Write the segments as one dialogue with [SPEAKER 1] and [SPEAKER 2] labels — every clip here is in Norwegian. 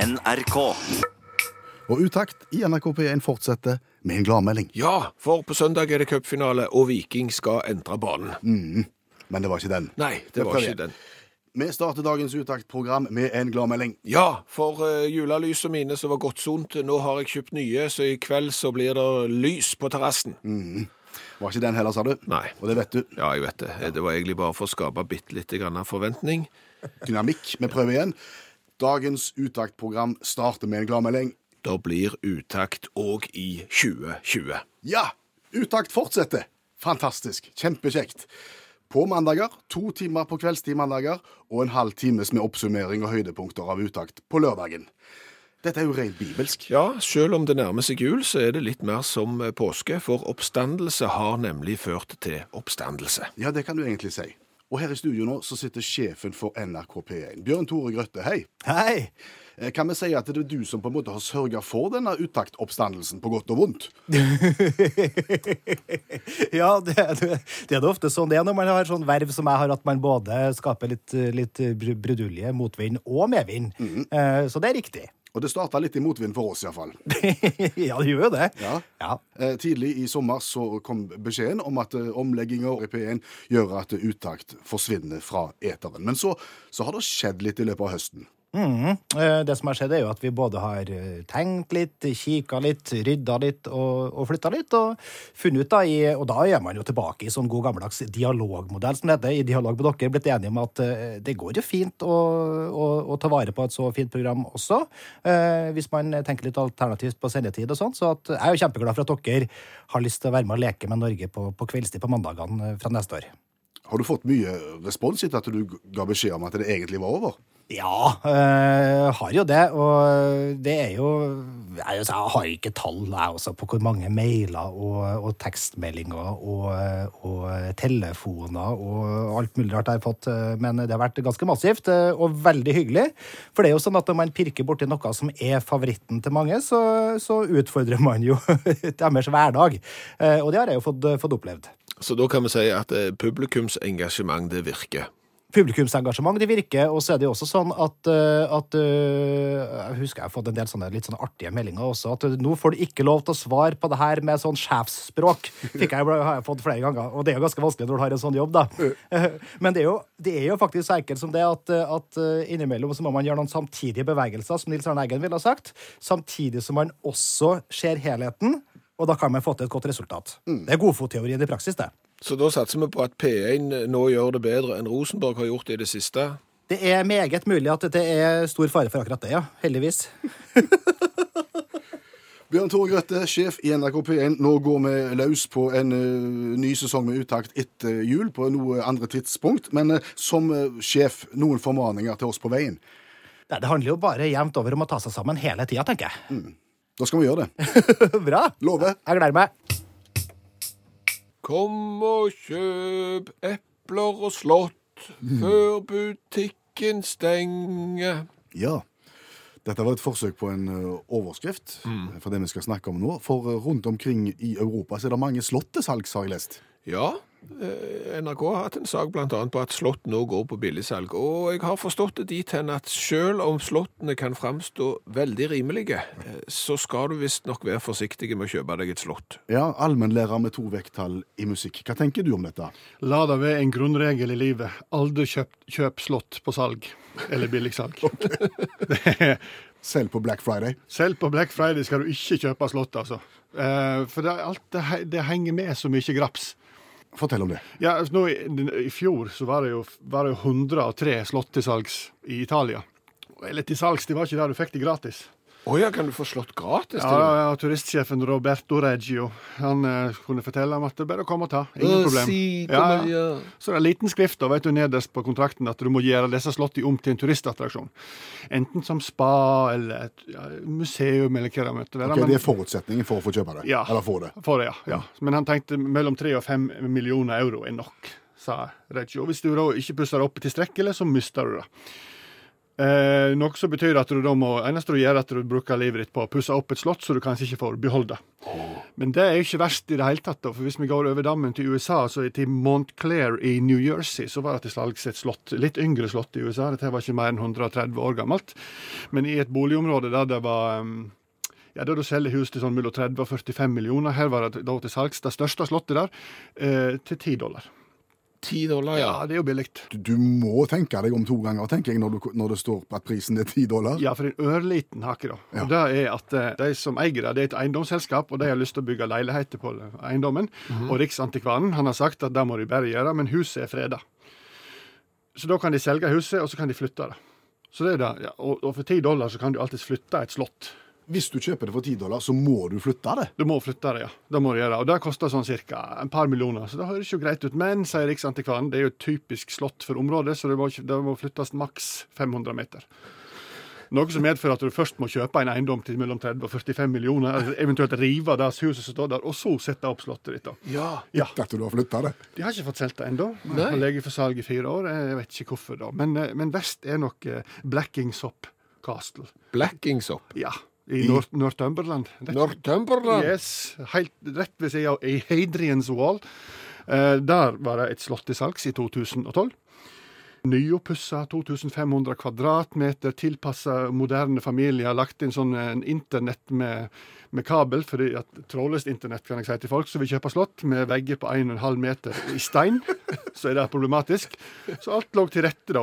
[SPEAKER 1] NRK.
[SPEAKER 2] Og Utakt i NRK P1 fortsetter med en gladmelding.
[SPEAKER 3] Ja, for på søndag er det cupfinale, og Viking skal endre banen.
[SPEAKER 2] Men det var ikke den.
[SPEAKER 3] Nei,
[SPEAKER 2] Vi
[SPEAKER 3] Mm. det var
[SPEAKER 2] prøver
[SPEAKER 3] ikke
[SPEAKER 2] igjen.
[SPEAKER 3] den.
[SPEAKER 2] Vi starter dagens Utakt-program med en gladmelding.
[SPEAKER 3] Ja, for uh, julelysene mine som var godt sunt, nå har jeg kjøpt nye, så i kveld så blir det lys på terrassen.
[SPEAKER 2] Var ikke den heller, sa du?
[SPEAKER 3] Nei.
[SPEAKER 2] Og det vet du.
[SPEAKER 3] Ja, jeg vet det. Det var egentlig bare for å skape bitte litt grann av forventning.
[SPEAKER 2] Dynamikk. Vi prøver igjen. Dagens Utakt-program starter med en gladmelding.
[SPEAKER 3] Da blir utakt òg i 2020.
[SPEAKER 2] Ja! Utakt fortsetter. Fantastisk. Kjempekjekt. På mandager, to timer på kveldstid mandager, og en halv times med oppsummering og høydepunkter av utakt på lørdagen. Dette er jo rent bibelsk.
[SPEAKER 3] Ja, selv om det nærmer seg jul, så er det litt mer som eh, påske, for oppstandelse har nemlig ført til oppstandelse.
[SPEAKER 2] Ja, det kan du egentlig si. Og her i studio nå så sitter sjefen for NRK P1, Bjørn Tore Grøtte. Hei.
[SPEAKER 4] Hei!
[SPEAKER 2] Eh, Kan vi si at det er du som på en måte har sørga for denne utaktoppstandelsen, på godt og vondt?
[SPEAKER 4] Ja, det, det, det er det ofte sånn det er når man har sånn verv som jeg har, at man både skaper litt, litt br- brudulje, motvind og medvind. Eh, Så det er riktig.
[SPEAKER 2] Og det starta litt i motvind for oss, iallfall.
[SPEAKER 4] ja, det gjør jo det.
[SPEAKER 2] Ja.
[SPEAKER 4] Ja.
[SPEAKER 2] Eh, Tidlig i sommer så kom beskjeden om at omlegginga i P1 gjør at utakt forsvinner fra eteren. Men så, så har det skjedd litt i løpet av høsten.
[SPEAKER 4] Mhm. Eh, Det som har skjedd, er jo at vi både har eh, tenkt litt, kikka litt, rydda litt og, og flytta litt. Og funnet ut da i, og da er man jo tilbake i sånn god gammeldags dialogmodell, som det heter. I dialog med dere blitt enige om at eh, det går jo fint å, å, å ta vare på et så fint program også. eh, Hvis man tenker litt alternativt på sendetid og sånn. Så at, jeg er jo kjempeglad for at dere har lyst til å være med og leke med Norge på, på kveldstid på mandagene eh, fra neste år.
[SPEAKER 2] Har du fått mye respons etter at du ga beskjed om at det egentlig var over?
[SPEAKER 4] Ja, øh, har jo det. Og det er jo Jeg, jeg har ikke tall jeg også på hvor mange mailer og, og tekstmeldinger og, og telefoner og alt mulig rart jeg har fått, øh, men det har vært ganske massivt øh, og veldig hyggelig. For det er jo sånn at når man pirker borti noe som er favoritten til mange, så, så utfordrer man jo deres hverdag. Eh, Og det har jeg jo fått, fått opplevd.
[SPEAKER 3] Så da kan vi si at eh, publikums engasjement, det virker.
[SPEAKER 4] publikumsengasjement, det virker. Og så er det jo også sånn at, eh, at eh, Jeg husker jeg har fått en del sånne litt sånne artige meldinger også. At eh, nå får du ikke lov til å svare på det her med sånn sjefsspråk. Fikk jeg, har jeg fått flere ganger. Og det er jo ganske vanskelig når du har en sånn jobb, da. Eh, Men det er jo, det er jo faktisk så enkelt som det at, eh, at eh, innimellom så må man gjøre noen samtidige bevegelser, som Nils Arne Eggen ville ha sagt. Samtidig som man også ser helheten. Og da kan man få til et godt resultat. Det er godfotteorien i praksis, det.
[SPEAKER 3] Så da satser vi på at P1 nå gjør det bedre enn Rosenborg har gjort i det siste.
[SPEAKER 4] Det er meget mulig at det er stor fare for akkurat det, ja. Heldigvis.
[SPEAKER 2] Bjørn Tore Grøtte, sjef i NRK P1. Nå går vi løs på en ø, ny sesong med utakt etter jul på noe andre tidspunkt. Men ø, som ø, sjef, noen formaninger til oss på veien.
[SPEAKER 4] Nei, det handler jo bare jevnt over om å ta seg sammen hele tida, tenker jeg.
[SPEAKER 2] Da skal vi gjøre det.
[SPEAKER 4] Bra!
[SPEAKER 2] Lover.
[SPEAKER 4] Jeg gleder meg.
[SPEAKER 3] Kom og kjøp epler og slått før butikken stenger.
[SPEAKER 2] Ja. Dette var et forsøk på en ø, overskrift
[SPEAKER 5] Mm.
[SPEAKER 2] for det vi skal snakke om nå. For ø, rundt omkring i Europa så er det mange slått til salgs, har jeg lest.
[SPEAKER 3] Ja, eh, NRK har hatt en sak blant annet på at slått nå går på billigsalg, og jeg har forstått det dit hen at selv om slåttene kan fremstå veldig rimelige, eh, så skal du visst nok være forsiktig med å kjøpe deg et slått.
[SPEAKER 2] Ja, Allmennlærer med to vekttall i musikk. Hva tenker du om dette?
[SPEAKER 5] La det være en grunnregel i livet. Aldri kjøp, kjøp slått på salg, eller billigsalg.
[SPEAKER 2] Selv på Black Friday.
[SPEAKER 5] Selv på Black Friday skal du ikke kjøpe slått, altså. Eh, for det, er alt, det, he- det henger med så mye graps.
[SPEAKER 2] Fortell om det.
[SPEAKER 5] Ja, altså, nå, i, I fjor så var det jo, var det jo 103 slått til salgs i Italia. Eller til salgs, det var ikke der du fikk det gratis.
[SPEAKER 3] Åja, kan du få slått gratis
[SPEAKER 5] Ja,
[SPEAKER 3] til det?
[SPEAKER 5] ja, ja, Turistsjefen Roberto Reggio han eh, kunne fortelle om at det er bare å komme og ta.
[SPEAKER 3] Eh,
[SPEAKER 5] Ingen problem. Ja, ja. Så det er en liten skrift da, vet du, nederst på kontrakten at du må gjøre disse slottene om til en turistattraksjon. Enten som spa eller et ja, museum eller hva det måtte være.
[SPEAKER 2] Ok,
[SPEAKER 5] men-
[SPEAKER 2] det er forutsetningen for å få kjøpe det.
[SPEAKER 5] Ja.
[SPEAKER 2] Eller få det.
[SPEAKER 5] For det, ja, ja. Men han tenkte mellom 3 og 5 millioner euro er nok, sa Reggio. Hvis du da ikke pusser det opp tilstrekkelig, så mister du det. Eh, noe som betyr at du da må, eneste du gjør, er at du bruker livet ditt på å pusse opp et slott, så du kanskje ikke får beholde det. Men det er jo ikke verst i det hele tatt, da, for hvis vi går over dammen til USA, så til Montclair i New Jersey, så var det til salgs et slott, litt yngre slott i USA, dette var ikke mer enn 130 år gammelt, men i et boligområde der det var um, ja, da du selger hus til sånn mellom 30 og 45 millioner, her var det da til salgs det største slottet der, eh, til 10 dollar.
[SPEAKER 3] 10 dollar, ja.
[SPEAKER 5] Ja, det er jo billig.
[SPEAKER 2] Du, du må tenke deg om to ganger, tenker jeg, når, du, når det står på at prisen er 10 dollar.
[SPEAKER 5] Ja, for en ørliten hake, da. Og det er at eh, de som eier det, det er et eiendomsselskap, og de har lyst til å bygge leiligheter på eiendommen. Og Riksantikvaren han har sagt at det må de bare gjøre, men huset er freda. Så da kan de selge huset, og så kan de flytte det. Så det er det. Ja, og, og for 10 dollar så kan du alltids flytte et slott.
[SPEAKER 2] Hvis du kjøper det for 10 dollar, så må du flytte det.
[SPEAKER 5] Du må flytte det, ja. Det må du gjøre. Og det koster sånn ca. en par millioner, så det høres jo greit ut. Men, sier Riksantikvaren, det er jo et typisk slott for området, så det må, ikke- det må flyttes maks 500 meter. Noe som medfører at du først må kjøpe en eiendom til mellom 30 og 45 millioner, eller eventuelt rive det huset som står der, og så sette opp slottet ditt. da. Ja.
[SPEAKER 2] Etter at du har flytta det.
[SPEAKER 5] De har ikke fått solgt det ennå.
[SPEAKER 3] Nei.
[SPEAKER 5] Det har ligget for salg i fire år. Jeg vet ikke hvorfor, da. Men, eh, men vest er nok eh, Blackingsop Castle.
[SPEAKER 3] Blackingsopp.
[SPEAKER 5] Ja. I Nor- Northumberland. Rett
[SPEAKER 3] Northumberland.
[SPEAKER 5] Yes, helt rett ved siden av i Hadrians Wall. Eh, der var det et slott til salgs i 2012. Nyoppussa 2500 kvadratmeter, tilpassa moderne familier. Lagt inn sånn eh, en internett med, med kabel, fordi at trådløst internett kan jeg si til folk som vil kjøpe slott, med vegger på 1,5 meter i stein. Så er det problematisk. Så alt lå til rette, da.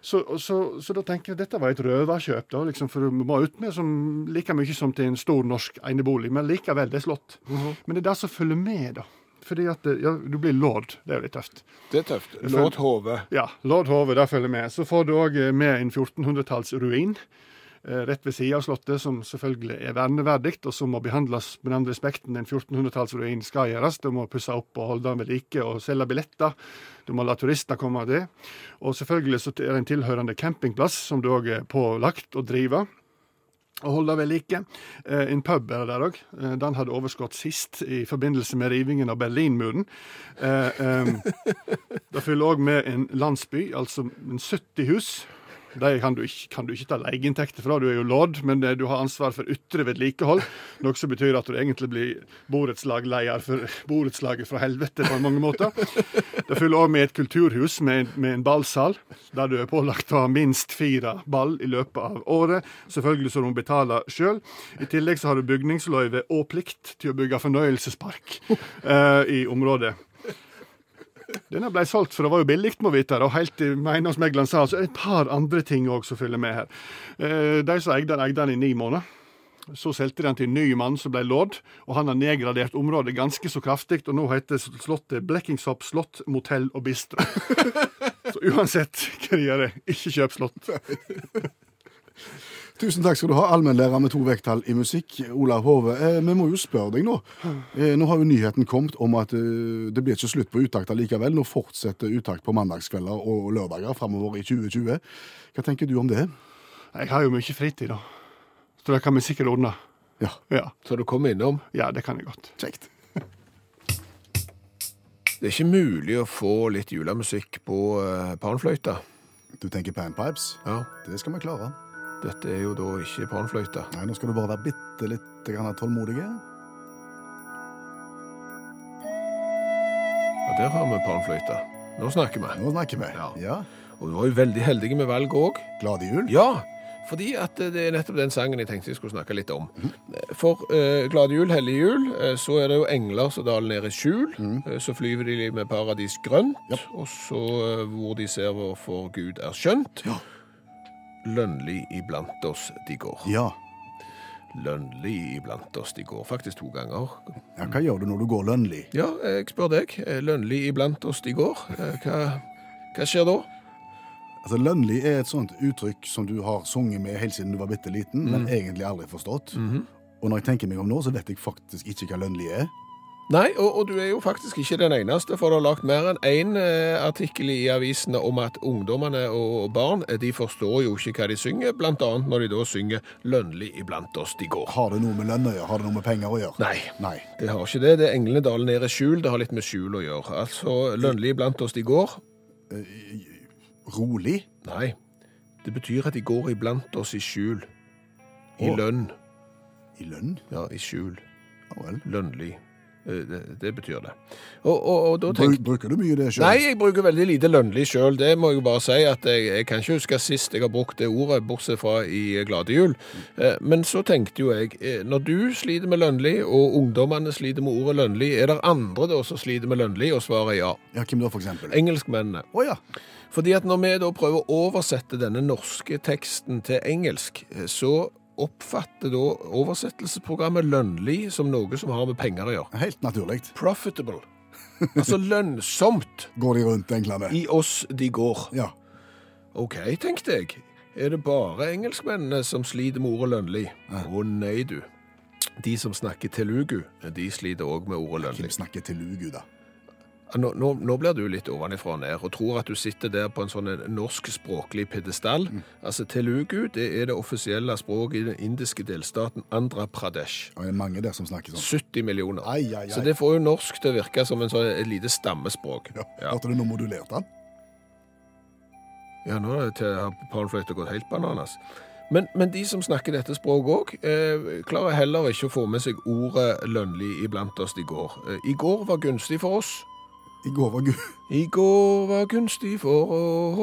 [SPEAKER 5] Så, og så, så da tenker jeg at dette var et røverkjøp, da, liksom, for vi må ut med som, like mye som til en stor norsk enebolig, men likevel, det er slått. Men det er det som følger med, da. Fordi at ja, du blir lord. Det er jo litt tøft.
[SPEAKER 3] Det er tøft. Låt hodet.
[SPEAKER 5] Ja, lord Hove, det følger med. Så får du òg med en 1400-tallsruin. eh, Rett ved siden av Slottet, som selvfølgelig er verneverdig, og som må behandles med den respekten en 1400-tallsruin skal gjøres. Du må pusse opp og holde den ved like, og selge billetter. Du må la turister komme til. Og selvfølgelig så er det en tilhørende campingplass, som du òg er pålagt å drive. Og holde ved like. Eh, En pub er det der òg. Den hadde overskudd sist, i forbindelse med rivingen av Berlinmuren. Eh, ehm, det følger òg med en landsby, altså en 70 hus. De kan du, ikke, kan du ikke ta leieinntekter fra, du er jo lord, men eh, du har ansvar for ytre vedlikehold, noe som betyr at du egentlig blir borettslagleder for borettslaget fra helvete på mange måter. Det følger òg med et kulturhus med, en- med en ballsal, der du er pålagt å ha minst fire ball i løpet av året. Selvfølgelig så du må betale sjøl. I tillegg så har du bygningsløyve og plikt til å bygge fornøyelsespark eh, i området. Denne ble solgt, for det var jo billig, må vite. Og helt til eiendomsmegleren sa, så er det et par andre ting òg som følger med her. Eh, De som eide den, eide den i ni måneder. Så solgte de den til en ny mann som ble lord, og han har nedgradert området ganske så kraftig, og nå heter slottet Blekkingshopp slott, motell og bistro. Så uansett hva de gjør, ikke kjøp slott.
[SPEAKER 2] Tusen takk skal du ha, allmennlærer med to vekttall i musikk, Olav Hove. Eh, vi må jo spørre deg nå. Eh, nå har jo nyheten kommet om at eh, det blir ikke slutt på utakt likevel. Nå fortsetter utakt på mandagskvelder og lørdager framover i 2020. Hva tenker du om det?
[SPEAKER 5] Jeg har jo mye fritid, da. Så det kan vi sikkert ordne.
[SPEAKER 2] Ja,
[SPEAKER 5] Ja,
[SPEAKER 3] Så du kom innom.
[SPEAKER 5] ja det kan jeg godt.
[SPEAKER 2] kjekt.
[SPEAKER 3] Det er ikke mulig å få litt julemusikk på eh, panfløyta.
[SPEAKER 2] Du tenker panpipes?
[SPEAKER 3] Ja.
[SPEAKER 2] Det skal vi klare.
[SPEAKER 3] Dette er jo da ikke panfløyta.
[SPEAKER 2] Nei, nå skal du bare være bitte litt grann tålmodig.
[SPEAKER 3] Ja, der har vi panfløyta. Nå snakker vi.
[SPEAKER 2] Nå snakker vi.
[SPEAKER 3] Ja.
[SPEAKER 2] Ja.
[SPEAKER 3] Og vi var jo veldig heldige med valget òg.
[SPEAKER 2] Glade jul.
[SPEAKER 3] Ja, fordi at eh, det er nettopp den sangen jeg tenkte jeg skulle snakke litt om. For eh, glade jul, hellige jul, eh, så er det jo engler som daler ned i skjul. Eh, så flyver de med paradis grønt, og så eh, hvor de ser hvorfor Gud er skjønt.
[SPEAKER 2] Ja.
[SPEAKER 3] Lønnlig iblant oss de går.
[SPEAKER 2] Ja.
[SPEAKER 3] Lønnlig iblant oss de går. Faktisk to ganger.
[SPEAKER 2] ja. Hva gjør du når du går lønnlig?
[SPEAKER 3] Ja, eh, jeg spør deg. eh, Lønnlig iblant oss de går. Eh, hva, hva skjer da?
[SPEAKER 2] Altså, Lønnlig er et sånt uttrykk som du har sunget med helt siden du var bitte liten,
[SPEAKER 3] Mhm.
[SPEAKER 2] men egentlig aldri forstått. Og når jeg tenker meg om nå, så vet jeg faktisk ikke hva lønnlig er.
[SPEAKER 3] Nei, og, og du er jo faktisk ikke den eneste, for det har lagt mer enn én eh, artikkel i avisene om at ungdommene og barn eh, de forstår jo ikke hva de synger, bl.a. når de da synger 'Lønnlig iblant oss de går'.
[SPEAKER 2] Har det noe med lønn å gjøre? Har det noe med penger å gjøre?
[SPEAKER 3] Nei,
[SPEAKER 2] Nei.
[SPEAKER 3] det har ikke det. Det er Engledalen nede i skjul. Det har litt med skjul å gjøre. Altså 'Lønnlig iblant oss de går'.
[SPEAKER 2] Eh, Rolig?
[SPEAKER 3] Nei. Det betyr at de går iblant oss i skjul. I
[SPEAKER 2] Å.
[SPEAKER 3] lønn.
[SPEAKER 2] I lønn?
[SPEAKER 3] Ja, i skjul.
[SPEAKER 2] Ja vel.
[SPEAKER 3] Lønnlig. Eh, Det, det betyr det. Og, og, og da
[SPEAKER 2] Bru,
[SPEAKER 3] tenk...
[SPEAKER 2] bruker du mye det sjøl?
[SPEAKER 3] Nei, jeg bruker veldig lite lønnlig sjøl. Det må jeg bare si. at jeg, jeg kan ikke huske sist jeg har brukt det ordet, bortsett fra i Glade jul. Eh, Men så tenkte jo jeg, eh, når du sliter med lønnlig, og ungdommene sliter med ordet lønnlig, er det andre da som sliter med lønnlig? Og svaret er ja.
[SPEAKER 2] Ja, hvem da, for eksempel? Å
[SPEAKER 3] Engelskmennene.
[SPEAKER 2] ja.
[SPEAKER 3] Fordi at når vi da prøver å oversette denne norske teksten til engelsk, eh, så oppfatter da oversettelsesprogrammet lønnlig som noe som har med penger å gjøre.
[SPEAKER 2] Helt naturlig.
[SPEAKER 3] Profitable. Altså lønnsomt
[SPEAKER 2] Går de rundt englene?
[SPEAKER 3] i oss de går.
[SPEAKER 2] Ja.
[SPEAKER 3] Ok, tenkte jeg. Er det bare engelskmennene som sliter med ordet lønnlig? Å nei, du. De som snakker telugu, de sliter òg med ordet lønnlig.
[SPEAKER 2] Hvem snakker til lugu, da?
[SPEAKER 3] Ja, Nå, nå, nå blir du litt ovenifra og ned, og tror at du sitter der på en sånn en norsk språklig pedestall.
[SPEAKER 2] Mm.
[SPEAKER 3] Altså, telugu, det er det offisielle språket i den indiske delstaten Andhra Pradesh.
[SPEAKER 2] Og det er mange der som snakker sånn.
[SPEAKER 3] 70 millioner.
[SPEAKER 2] Ai, ai, ai.
[SPEAKER 3] Så det får jo norsk til å virke som en sånn, et lite stammespråk.
[SPEAKER 2] Ja.
[SPEAKER 3] ja.
[SPEAKER 2] Hørte du nå modulerte han?
[SPEAKER 3] Ja, nå er det til- har palmfløyta gått helt bananas. Men, men de som snakker dette språket òg, eh, klarer heller ikke å få med seg ordet lønnlig iblant oss i går. Eh, I går var gunstig for oss.
[SPEAKER 2] I går var Gud
[SPEAKER 3] I går var gunstig for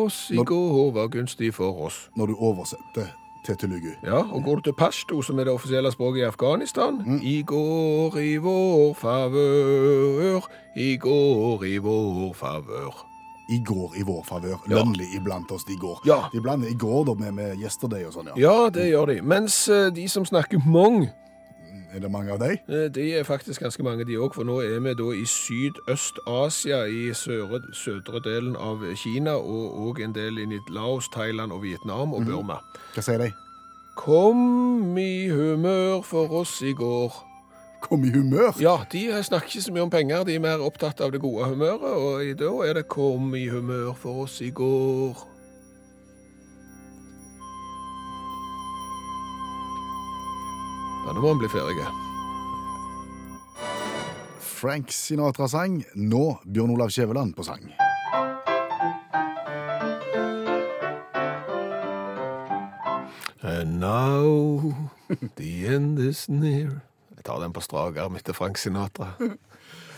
[SPEAKER 3] oss, i
[SPEAKER 2] Når-
[SPEAKER 3] går var gunstig for oss.
[SPEAKER 2] Når du oversetter til telugu.
[SPEAKER 3] Ja, og går du til pashto, som er det offisielle språket i Afghanistan, i går i vår favør, i går i vår favør.
[SPEAKER 2] I går i vår favør.
[SPEAKER 3] Ja.
[SPEAKER 2] Lønnlig iblant oss i går.
[SPEAKER 3] Ja.
[SPEAKER 2] De blander i går da med, med yesterday og sånn, ja.
[SPEAKER 3] Ja, det gjør de. Mens eh, de som snakker mong,
[SPEAKER 2] Er det mange av deg?
[SPEAKER 3] eh, de er faktisk ganske mange de òg, for nå er vi da i Sydøst-Asia, i søre, sødre delen av Kina, og òg en del inn i Laos, Thailand og Vietnam og Burma.
[SPEAKER 2] Hva sier de?
[SPEAKER 3] Kom i humør for oss i går.
[SPEAKER 2] Kom i humør!
[SPEAKER 3] Ja, de snakker ikke så mye om penger, de er mer opptatt av det gode humøret, og i da er det kom i humør for oss i går. Ja, nå må han bli ferdig.
[SPEAKER 2] Frank Sinatra sang, nå Bjørn Olav Skjæveland på sang.
[SPEAKER 3] And now the end is near. Jeg tar den på strak arm etter Frank Sinatra.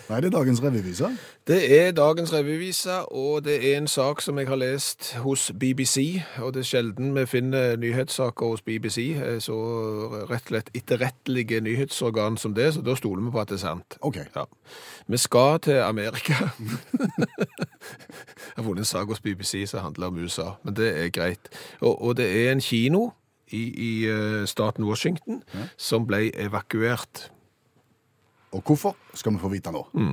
[SPEAKER 2] Nei, det er dagens revyvise.
[SPEAKER 3] Det er dagens revyvise, og det er en sak som jeg har lest hos BBC. Og det er sjelden vi finner nyhetssaker hos BBC, eh, så rett og slett etterrettelige nyhetsorgan som det, så da stoler vi på at det er sant.
[SPEAKER 2] OK.
[SPEAKER 3] Ja. Vi skal til Amerika. Jeg har funnet en sak hos BBC som handler om USA, men det er greit. Og, og det er en kino i, i eh, staten Washington som ble evakuert.
[SPEAKER 2] Og hvorfor skal vi få vite nå?
[SPEAKER 3] Mm.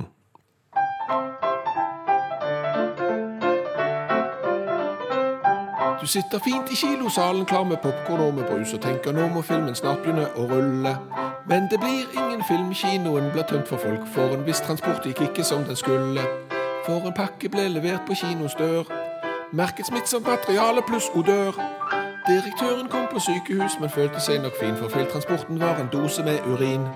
[SPEAKER 3] Du sitter fint i kilosalen, klar med popkorn og med brus, og tenker nå må filmen snart begynne å rulle. Men det blir ingen film, kinoen blir tømt for folk, for en viss transport gikk ikke som den skulle. For en pakke ble levert på kinos dør, merket smittsomt materiale pluss odør. Direktøren kom på sykehus, men følte seg nok fin, for feiltransporten var en dose med urin.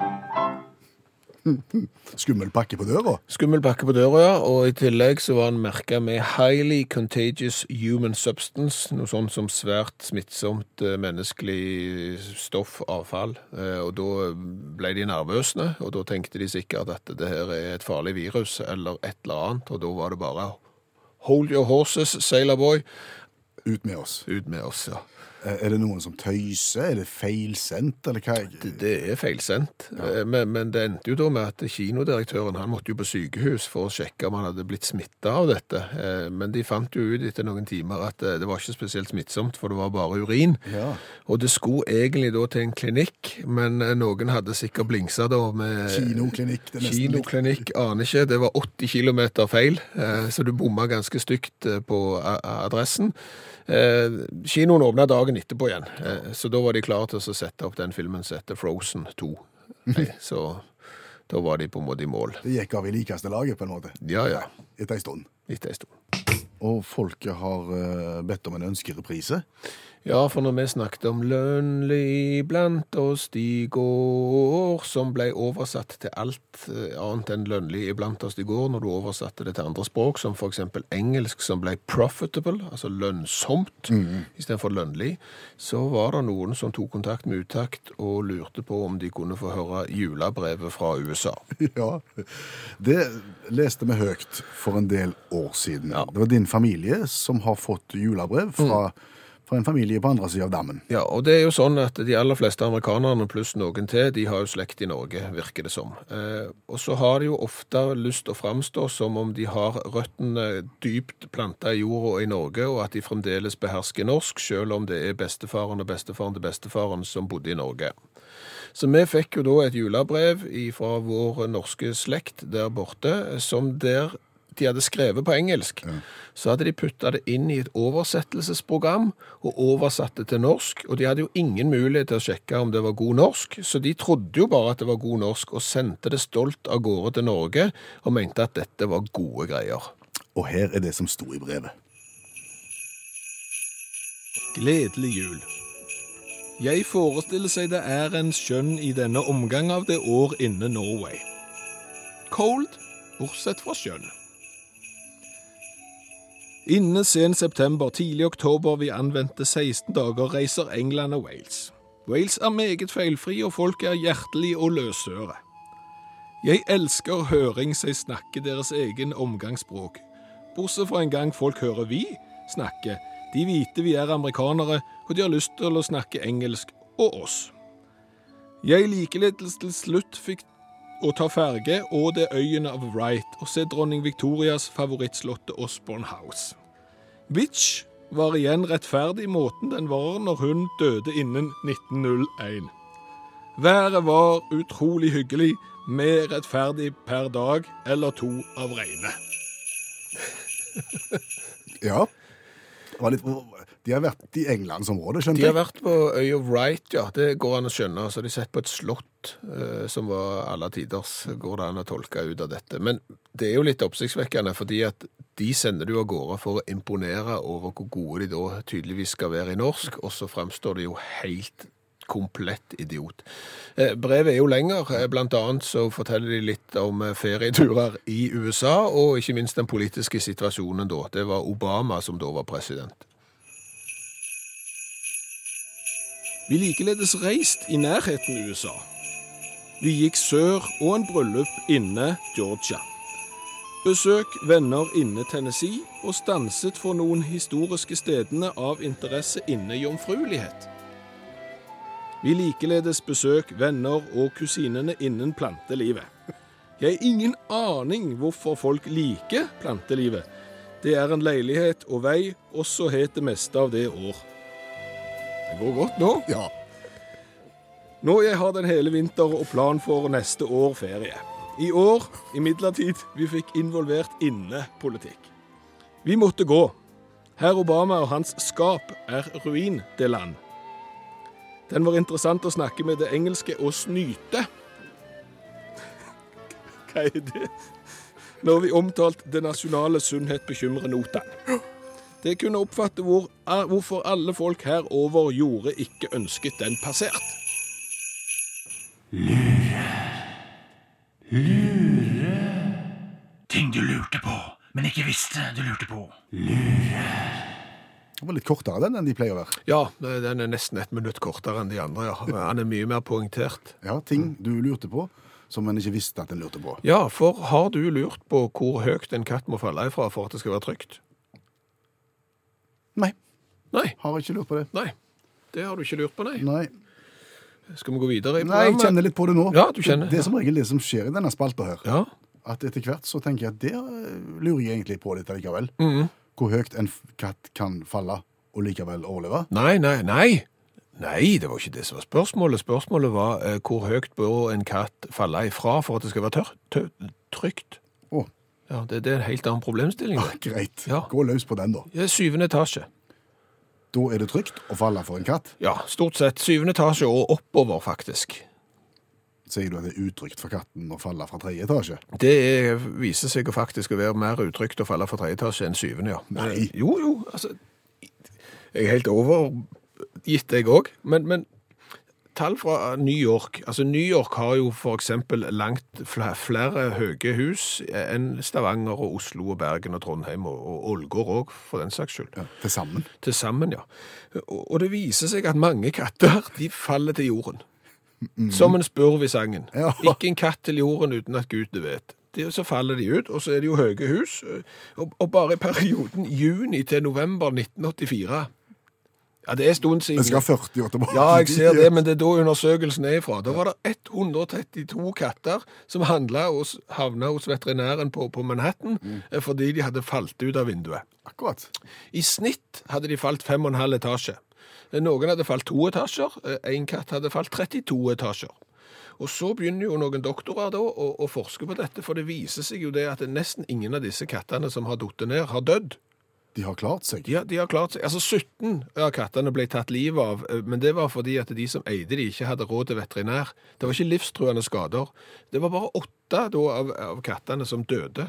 [SPEAKER 2] Skummel pakke på døra?
[SPEAKER 3] Skummel pakke på døra, ja, og i tillegg så var han merka med 'highly contagious human substance', noe sånt som svært smittsomt eh, menneskelig stoff, avfall. Eh, Og da ble de nervøse, og da tenkte de sikkert at det her er et farlig virus eller et eller annet, og da var det bare 'hold your horses, sailor boy',
[SPEAKER 2] Ut med oss.
[SPEAKER 3] ut med oss, ja.
[SPEAKER 2] Eh, Er det noen som tøyser? Er det feilsendt, eller hva?
[SPEAKER 3] Det, det er feilsendt, Eh, men, men det endte jo da med at kinodirektøren han måtte jo på sykehus for å sjekke om han hadde blitt smitta av dette. Eh, Men de fant jo ut etter noen timer at eh, det var ikke spesielt smittsomt, for det var bare urin.
[SPEAKER 2] Ja.
[SPEAKER 3] Og det skulle egentlig da til en klinikk, men eh, noen hadde sikkert blingsa da med
[SPEAKER 2] Kinoklinikk. Det er nesten litt-
[SPEAKER 3] Kinoklinikk, aner ikke. Det var 80 km feil, eh, så du bomma ganske stygt eh, på a- a- adressen. Eh, Kinoen åpna dagen etterpå igjen, eh, så da var de klare til å sette opp den filmen som heter Frozen 2. Nei, så da var de på en måte i mål.
[SPEAKER 2] Det gikk av i likeste laget, på en måte.
[SPEAKER 3] Ja ja,
[SPEAKER 2] Etter ei stund.
[SPEAKER 3] etter ei stund.
[SPEAKER 2] Og folket har eh, bedt om en ønskereprise.
[SPEAKER 3] Ja, for når vi snakket om Lønli iblant oss de går, som ble oversatt til alt eh, annet enn Lønli iblant oss de går, når du oversatte det til andre språk, som for eksempel engelsk, som ble profitable, altså lønnsomt, istedenfor Lønli, så var det noen som tok kontakt med Utakt og lurte på om de kunne få høre julebrevet fra USA.
[SPEAKER 2] Ja, det leste vi høyt for en del år siden. Det var din familie som har fått julebrev fra,
[SPEAKER 3] Mm.
[SPEAKER 2] fra en familie på andre siden av dammen.
[SPEAKER 3] Ja, og det er jo sånn at de aller fleste amerikanerne pluss noen til, de har jo slekt i Norge, virker det som. Eh, og så har de jo ofte lyst til å framstå som om de har røttene dypt planta i jorda og i Norge, og at de fremdeles behersker norsk, selv om det er bestefaren og bestefaren til bestefaren som bodde i Norge. Så vi fikk jo da et julebrev fra vår norske slekt der borte, som der de hadde skrevet på engelsk. Så hadde de putta det inn i et oversettelsesprogram og oversatt det til norsk. Og de hadde jo ingen mulighet til å sjekke om det var god norsk, så de trodde jo bare at det var god norsk, og sendte det stolt av gårde til Norge og mente at dette var gode greier.
[SPEAKER 2] Og her er det som sto i brevet.
[SPEAKER 1] Gledelig jul. Jeg forestiller seg det er en skjønn i denne omgang av det år inne Norway. Cold, bortsett fra skjønn. Inne sen september, tidlig oktober, vi anvendte 16 dager, reiser England og Wales. Wales er meget feilfri, og folk er hjertelige og løsøre. Jeg elsker høring seg snakke deres egen omgangsspråk. Bortsett fra en gang folk hører vi snakke. De vite vi er amerikanere, og de har lyst til å snakke engelsk og oss. Jeg likeledes til slutt fikk å ta ferge og det øyene av Wright og se dronning Victorias favorittslottet Osborne House. Bitch var igjen rettferdig i måten den var når hun døde innen 1901. Været var utrolig hyggelig, mer rettferdig per dag eller to av regnet.
[SPEAKER 2] Ja. Det var litt, de har vært i Englandsområdet, skjønte
[SPEAKER 3] De har
[SPEAKER 2] jeg.
[SPEAKER 3] vært på øya Wright, ja. Det går an å skjønne. Så de sitter på et slott eh, som var alle tiders, går det an å tolke ut av dette. Men det er jo litt oppsiktsvekkende, fordi at de sender du av gårde for å imponere over hvor gode de da tydeligvis skal være i norsk, og så fremstår de jo helt komplett idiot. Eh, Brevet er jo lenger. Eh, Blant annet så forteller de litt om eh, ferieturer i USA, og ikke minst den politiske situasjonen da. Det var Obama som da var president.
[SPEAKER 1] Vi likeledes reist i nærheten USA. Vi gikk sør og en bryllup inne Georgia. Besøk venner inne Tennessee og stanset for noen historiske stedene av interesse inne jomfruelighet. Vi likeledes besøk venner og kusinene innen plantelivet. Jeg har ingen aning hvorfor folk liker plantelivet. Det er en leilighet og vei, også het det meste av det år. Det går godt nå.
[SPEAKER 2] Ja.
[SPEAKER 1] Nå jeg har den hele vinter og plan for neste år ferie. I år, imidlertid, vi fikk involvert innepolitikk. Vi måtte gå. Herr Obama og hans skap er ruin, det land. Den var interessant å snakke med det engelske og snyte. Hva er det? Når vi omtalte det nasjonale sunnhet bekymrer notan. Det kunne oppfatte hvor, er, hvorfor alle folk herover gjorde ikke ønsket den passert.
[SPEAKER 6] Ting du lurte på, men ikke visste du lurte på.
[SPEAKER 2] Den var litt kortere den enn de pleier å være.
[SPEAKER 3] Ja, den er nesten et minutt kortere enn de andre. ja. Han er mye mer poengtert.
[SPEAKER 2] Ja,
[SPEAKER 3] Mm.
[SPEAKER 2] Ting du lurte på som en ikke visste at en lurte på.
[SPEAKER 3] Ja, for har du lurt på hvor høyt en katt må falle ifra for at det skal være trygt?
[SPEAKER 2] Nei,
[SPEAKER 3] Nei.
[SPEAKER 2] har ikke lurt på det.
[SPEAKER 3] Nei. Det har du ikke lurt på, nei.
[SPEAKER 2] Nei,
[SPEAKER 3] Skal vi gå videre i
[SPEAKER 2] Nei jeg
[SPEAKER 3] programmet?
[SPEAKER 2] kjenner litt på det nå.
[SPEAKER 3] Ja, du kjenner.
[SPEAKER 2] Det er som regel det som skjer i denne spalta her.
[SPEAKER 3] Ja.
[SPEAKER 2] At etter hvert så tenker jeg at det eh, lurer jeg egentlig på litt likevel.
[SPEAKER 3] Mm.
[SPEAKER 2] Hvor høyt en f- katt kan falle og likevel overleve.
[SPEAKER 3] Nei, nei, nei. Nei, det var ikke det som var spørsmålet. Spørsmålet var eh, hvor høyt bør en katt falle ifra for at det skal være tør tø- trygt?
[SPEAKER 2] Å,
[SPEAKER 3] Ja, det, det er en helt annen problemstilling.
[SPEAKER 2] Ah.
[SPEAKER 3] det.
[SPEAKER 2] greit.
[SPEAKER 3] Ja.
[SPEAKER 2] Gå løs på den, da.
[SPEAKER 3] Det er syvende etasje.
[SPEAKER 2] Da er det trygt å falle for en katt.
[SPEAKER 3] Ja, stort sett syvende etasje og oppover, faktisk.
[SPEAKER 2] Sier du at det er utrygt for katten å falle fra tredje etasje?
[SPEAKER 3] Det er, viser seg å faktisk å være mer utrygt Eh, å falle fra tredje etasje enn syvende, ja.
[SPEAKER 2] Nei.
[SPEAKER 3] Jo, jo, altså Jeg er helt overbevist gitt, jeg òg. Men, men tall fra New York Altså, New York har jo for eksempel langt fl- flere høye hus enn Stavanger og Oslo og Bergen og Trondheim og, og Ålgård òg, for den saks skyld.
[SPEAKER 2] Til sammen.
[SPEAKER 3] Til sammen, ja. Og, og det viser seg at mange katter de faller til jorden. Som en spurv i sangen.
[SPEAKER 2] Mm. Ja.
[SPEAKER 3] Ikke en katt til jorden uten at Gud det vet. Det, så faller de ut, og så er det jo høye hus. Og, og bare i perioden juni til november 1984 Ja, det er en stund siden.
[SPEAKER 2] Vi skal 40 år tilbake.
[SPEAKER 3] Ja, jeg ser det, men det er da undersøkelsen er ifra. Da var det 132 katter som handla og havna hos veterinæren på, på Manhattan
[SPEAKER 2] Mm.
[SPEAKER 3] eh, fordi de hadde falt ut av vinduet.
[SPEAKER 2] Akkurat.
[SPEAKER 3] I snitt hadde de falt fem og en halv etasje. Eh, Noen hadde falt to etasjer, eh, en katt hadde falt 32 etasjer. Og så begynner jo noen doktorer da å, å forske på dette, for det viser seg jo det at nesten ingen av disse kattene som har datt ned, har dødd.
[SPEAKER 2] De har klart seg.
[SPEAKER 3] De har, de har klart seg. Altså 17 av kattene ble tatt livet av, eh, men det var fordi at de som eide de ikke hadde råd til veterinær. Det var ikke livstruende skader. Det var bare åtte da av, av kattene som døde.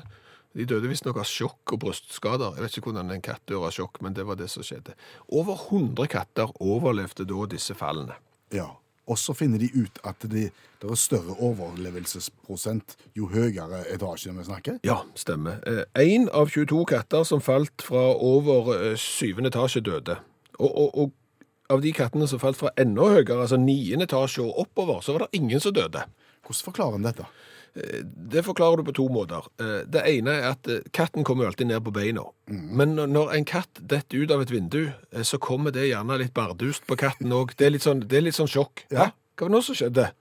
[SPEAKER 3] De døde visstnok av sjokk og brystskader. Jeg vet ikke hvordan en katt dør av sjokk, men det var det som skjedde. Over 100 katter overlevde da disse fallene.
[SPEAKER 2] Ja. Og så finner de ut at de, det er større overlevelsesprosent jo høyere etasje vi snakker.
[SPEAKER 3] Ja, stemmer. Én av 22 katter som falt fra over eh, syvende etasje, døde. Og, og, og av de kattene som falt fra enda høyere, altså niende etasje og oppover, så var det ingen som døde.
[SPEAKER 2] Hvordan forklarer en dette?
[SPEAKER 3] Det forklarer du på to måter. Eh, Det ene er at eh, katten kommer jo alltid ned på beina. Men når- når en katt detter ut av et vindu, eh, så kommer det gjerne litt bardust på katten òg. Det, er litt sånn, det er litt sånn sjokk. Hæ? Hva var det nå som skjedde?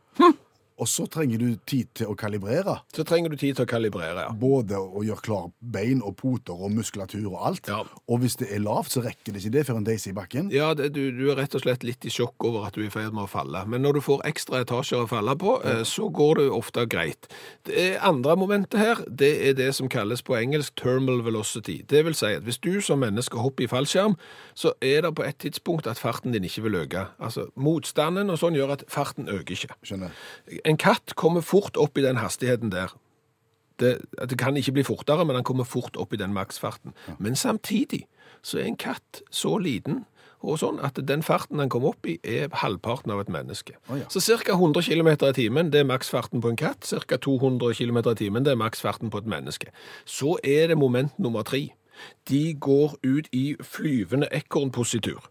[SPEAKER 2] Og så trenger du tid til å kalibrere.
[SPEAKER 3] Så trenger du tid til å kalibrere. ja.
[SPEAKER 2] Både å gjøre klar bein og poter og muskulatur og alt.
[SPEAKER 3] Ja.
[SPEAKER 2] Og hvis det er lavt, så rekker det ikke det før en deiser i bakken.
[SPEAKER 3] Ja, det, du, du er rett og slett litt i sjokk over at du er i ferd med å falle. Men når du får ekstra etasjer å falle på, eh, så går det ofte greit. Det andre momentet her, det er det som kalles på engelsk termal velocity. Det vil si at hvis du som menneske hopper i fallskjerm, så er det på et tidspunkt at farten din ikke vil øke. Altså motstanden og sånn gjør at farten øker ikke.
[SPEAKER 2] Skjønner.
[SPEAKER 3] En katt kommer fort opp i den hastigheten der. Det, det kan ikke bli fortere, men han kommer fort opp i den maksfarten. Men samtidig så er en katt så liten og sånn at den farten han kommer opp i, er halvparten av et menneske.
[SPEAKER 2] Å ja.
[SPEAKER 3] Så ca. 100 km i timen det er maksfarten på en katt. Ca. 200 km i timen det er maksfarten på et menneske. Så er det moment nummer tre. De går ut i flyvende ekornpositur,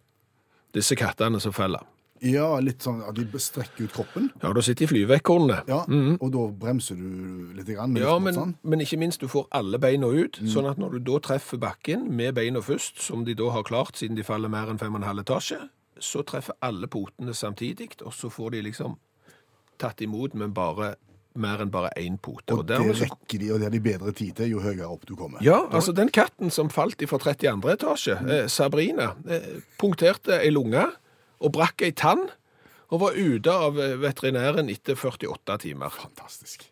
[SPEAKER 3] disse kattene som faller.
[SPEAKER 2] Ja, litt sånn at de strekker ut kroppen.
[SPEAKER 3] Ja, da sitter de flyveekornene.
[SPEAKER 2] Ja, Og da bremser du litt. Grann, med
[SPEAKER 3] Mhm. Ja,
[SPEAKER 2] litt
[SPEAKER 3] men,
[SPEAKER 2] motstand.
[SPEAKER 3] men ikke minst du får alle beina ut,
[SPEAKER 2] Mm.
[SPEAKER 3] sånn at når du da treffer bakken med beina først, som de da har klart siden de faller mer enn fem og en halv etasje, så treffer alle potene samtidig, og så får de liksom tatt imot, men bare mer enn bare én pote.
[SPEAKER 2] Og,
[SPEAKER 3] Og
[SPEAKER 2] det
[SPEAKER 3] dermed så-
[SPEAKER 2] rekker de, og det har de bedre tid til jo høyere opp du kommer.
[SPEAKER 3] ja, altså den katten som falt fra 32. etasje,
[SPEAKER 2] Mm.
[SPEAKER 3] eh, Sabrina, eh, punkterte ei lunge og brakk ei tann, og var ute av eh, veterinæren etter 48 timer.
[SPEAKER 2] Fantastisk.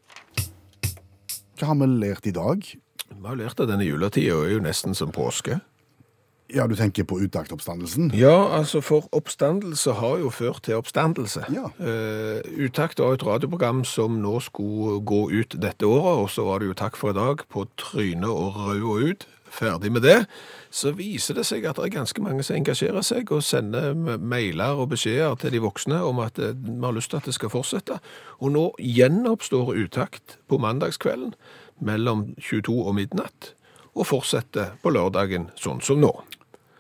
[SPEAKER 2] Hva har vi lært i dag?
[SPEAKER 3] Vi har lært at denne juletida er jo nesten som påske.
[SPEAKER 2] Ja, du tenker på utaktoppstandelsen?
[SPEAKER 3] Ja, altså for oppstandelse har jo ført til oppstandelse.
[SPEAKER 2] Ja.
[SPEAKER 3] Eh, Utakt var et radioprogram som nå skulle gå ut dette året, og så var det jo takk for i dag på trynet og rau og ut. Ferdig med det. Så viser det seg at det er ganske mange som engasjerer seg og sender m- mailer og beskjeder til de voksne om at eh, vi har lyst til at det skal fortsette. Og nå gjenoppstår utakt på mandagskvelden mellom 22 og midnatt, og fortsetter på lørdagen sånn som nå.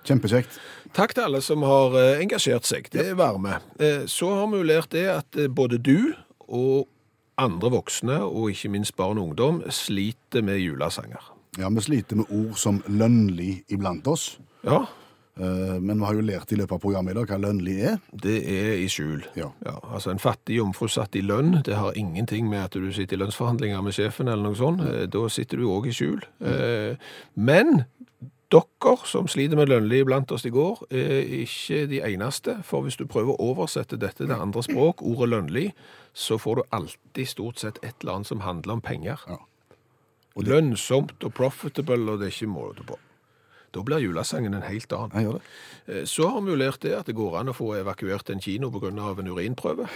[SPEAKER 2] Kjempekjekt.
[SPEAKER 3] Takk til alle som har eh, engasjert seg. Det er varme. Eh, Så har vi jo lært det at eh, både du og andre voksne, og ikke minst barn og ungdom, sliter med julesanger.
[SPEAKER 2] Ja, vi sliter med ord som lønnlig iblant oss.
[SPEAKER 3] Ja,
[SPEAKER 2] Eh, Men vi har jo lært i løpet av programmet i dag hva lønnlig er.
[SPEAKER 3] det er i skjul.
[SPEAKER 2] Ja.
[SPEAKER 3] altså En fattig jomfru satt i lønn, det har ingenting med at du sitter i lønnsforhandlinger med sjefen eller noe sånt. Eh, Da sitter du òg i skjul. Eh, Men dere som sliter med lønnlig blant oss i går, er ikke de eneste. For hvis du prøver å oversette dette til andre språk, ordet lønnlig, så får du alltid stort sett et eller annet som handler om penger.
[SPEAKER 2] Ja.
[SPEAKER 3] Lønnsomt og profitable, og det er ikke måte på. Da blir julesangen en helt annen.
[SPEAKER 2] Jeg gjør det.
[SPEAKER 3] Eh, Så har vi jo lært det at det går an å få evakuert en kino pga. en urinprøve.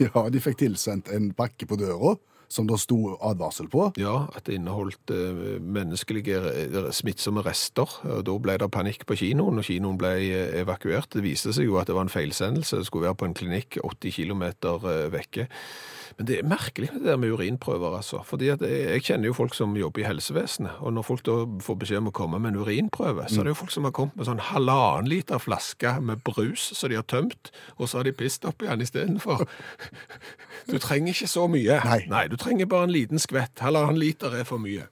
[SPEAKER 2] Ja, de fikk tilsendt en pakke på døra som det sto advarsel på.
[SPEAKER 3] Ja, at det inneholdt eh, menneskelige re- smittsomme rester. og Da ble det panikk på kinoen, og kinoen ble eh, evakuert. Det viste seg jo at det var en feilsendelse. Det skulle være på en klinikk 80 km vekke. Men det er merkelig det der med urinprøver, altså. Fordi at jeg, jeg kjenner jo folk som jobber i helsevesenet, og når folk da får beskjed om å komme med en urinprøve, så er det jo folk som har kommet med sånn halvannen liter flaske med brus som de har tømt, og så har de pisset oppi den istedenfor. Du trenger ikke så mye.
[SPEAKER 2] Nei.
[SPEAKER 3] du trenger bare en liten skvett. Halvannen liter er for mye.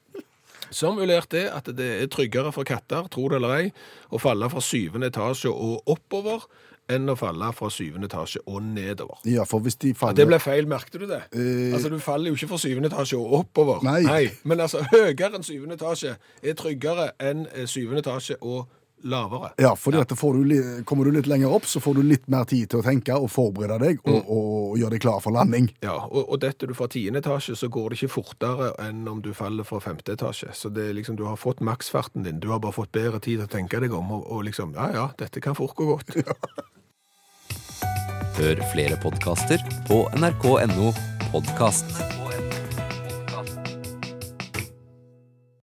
[SPEAKER 3] Som ulert er at det er tryggere for katter, tro det eller ei, å falle fra syvende etasje og oppover enn å falle fra syvende etasje og nedover.
[SPEAKER 2] Ja, for hvis de faller
[SPEAKER 3] Det ble feil, merkte du det?
[SPEAKER 2] Eh.
[SPEAKER 3] Altså, Du faller jo ikke fra syvende etasje og oppover.
[SPEAKER 2] Nei.
[SPEAKER 3] Men altså, høyere enn syvende etasje er tryggere enn eh, syvende etasje og lavere.
[SPEAKER 2] Ja, fordi at får du, li- kommer du litt lenger opp, så får du litt mer tid til å tenke og forberede deg, og, og gjøre deg klar for landing.
[SPEAKER 3] Ja, og, og detter du fra tiende etasje, så går det ikke fortere enn om du faller fra femte etasje. Så det er liksom, du har fått maksfarten din, du har bare fått bedre tid til å tenke deg om, og, og liksom, ja ja, dette kan fort gå godt.
[SPEAKER 7] Hør flere podkaster på nrk.no podkast.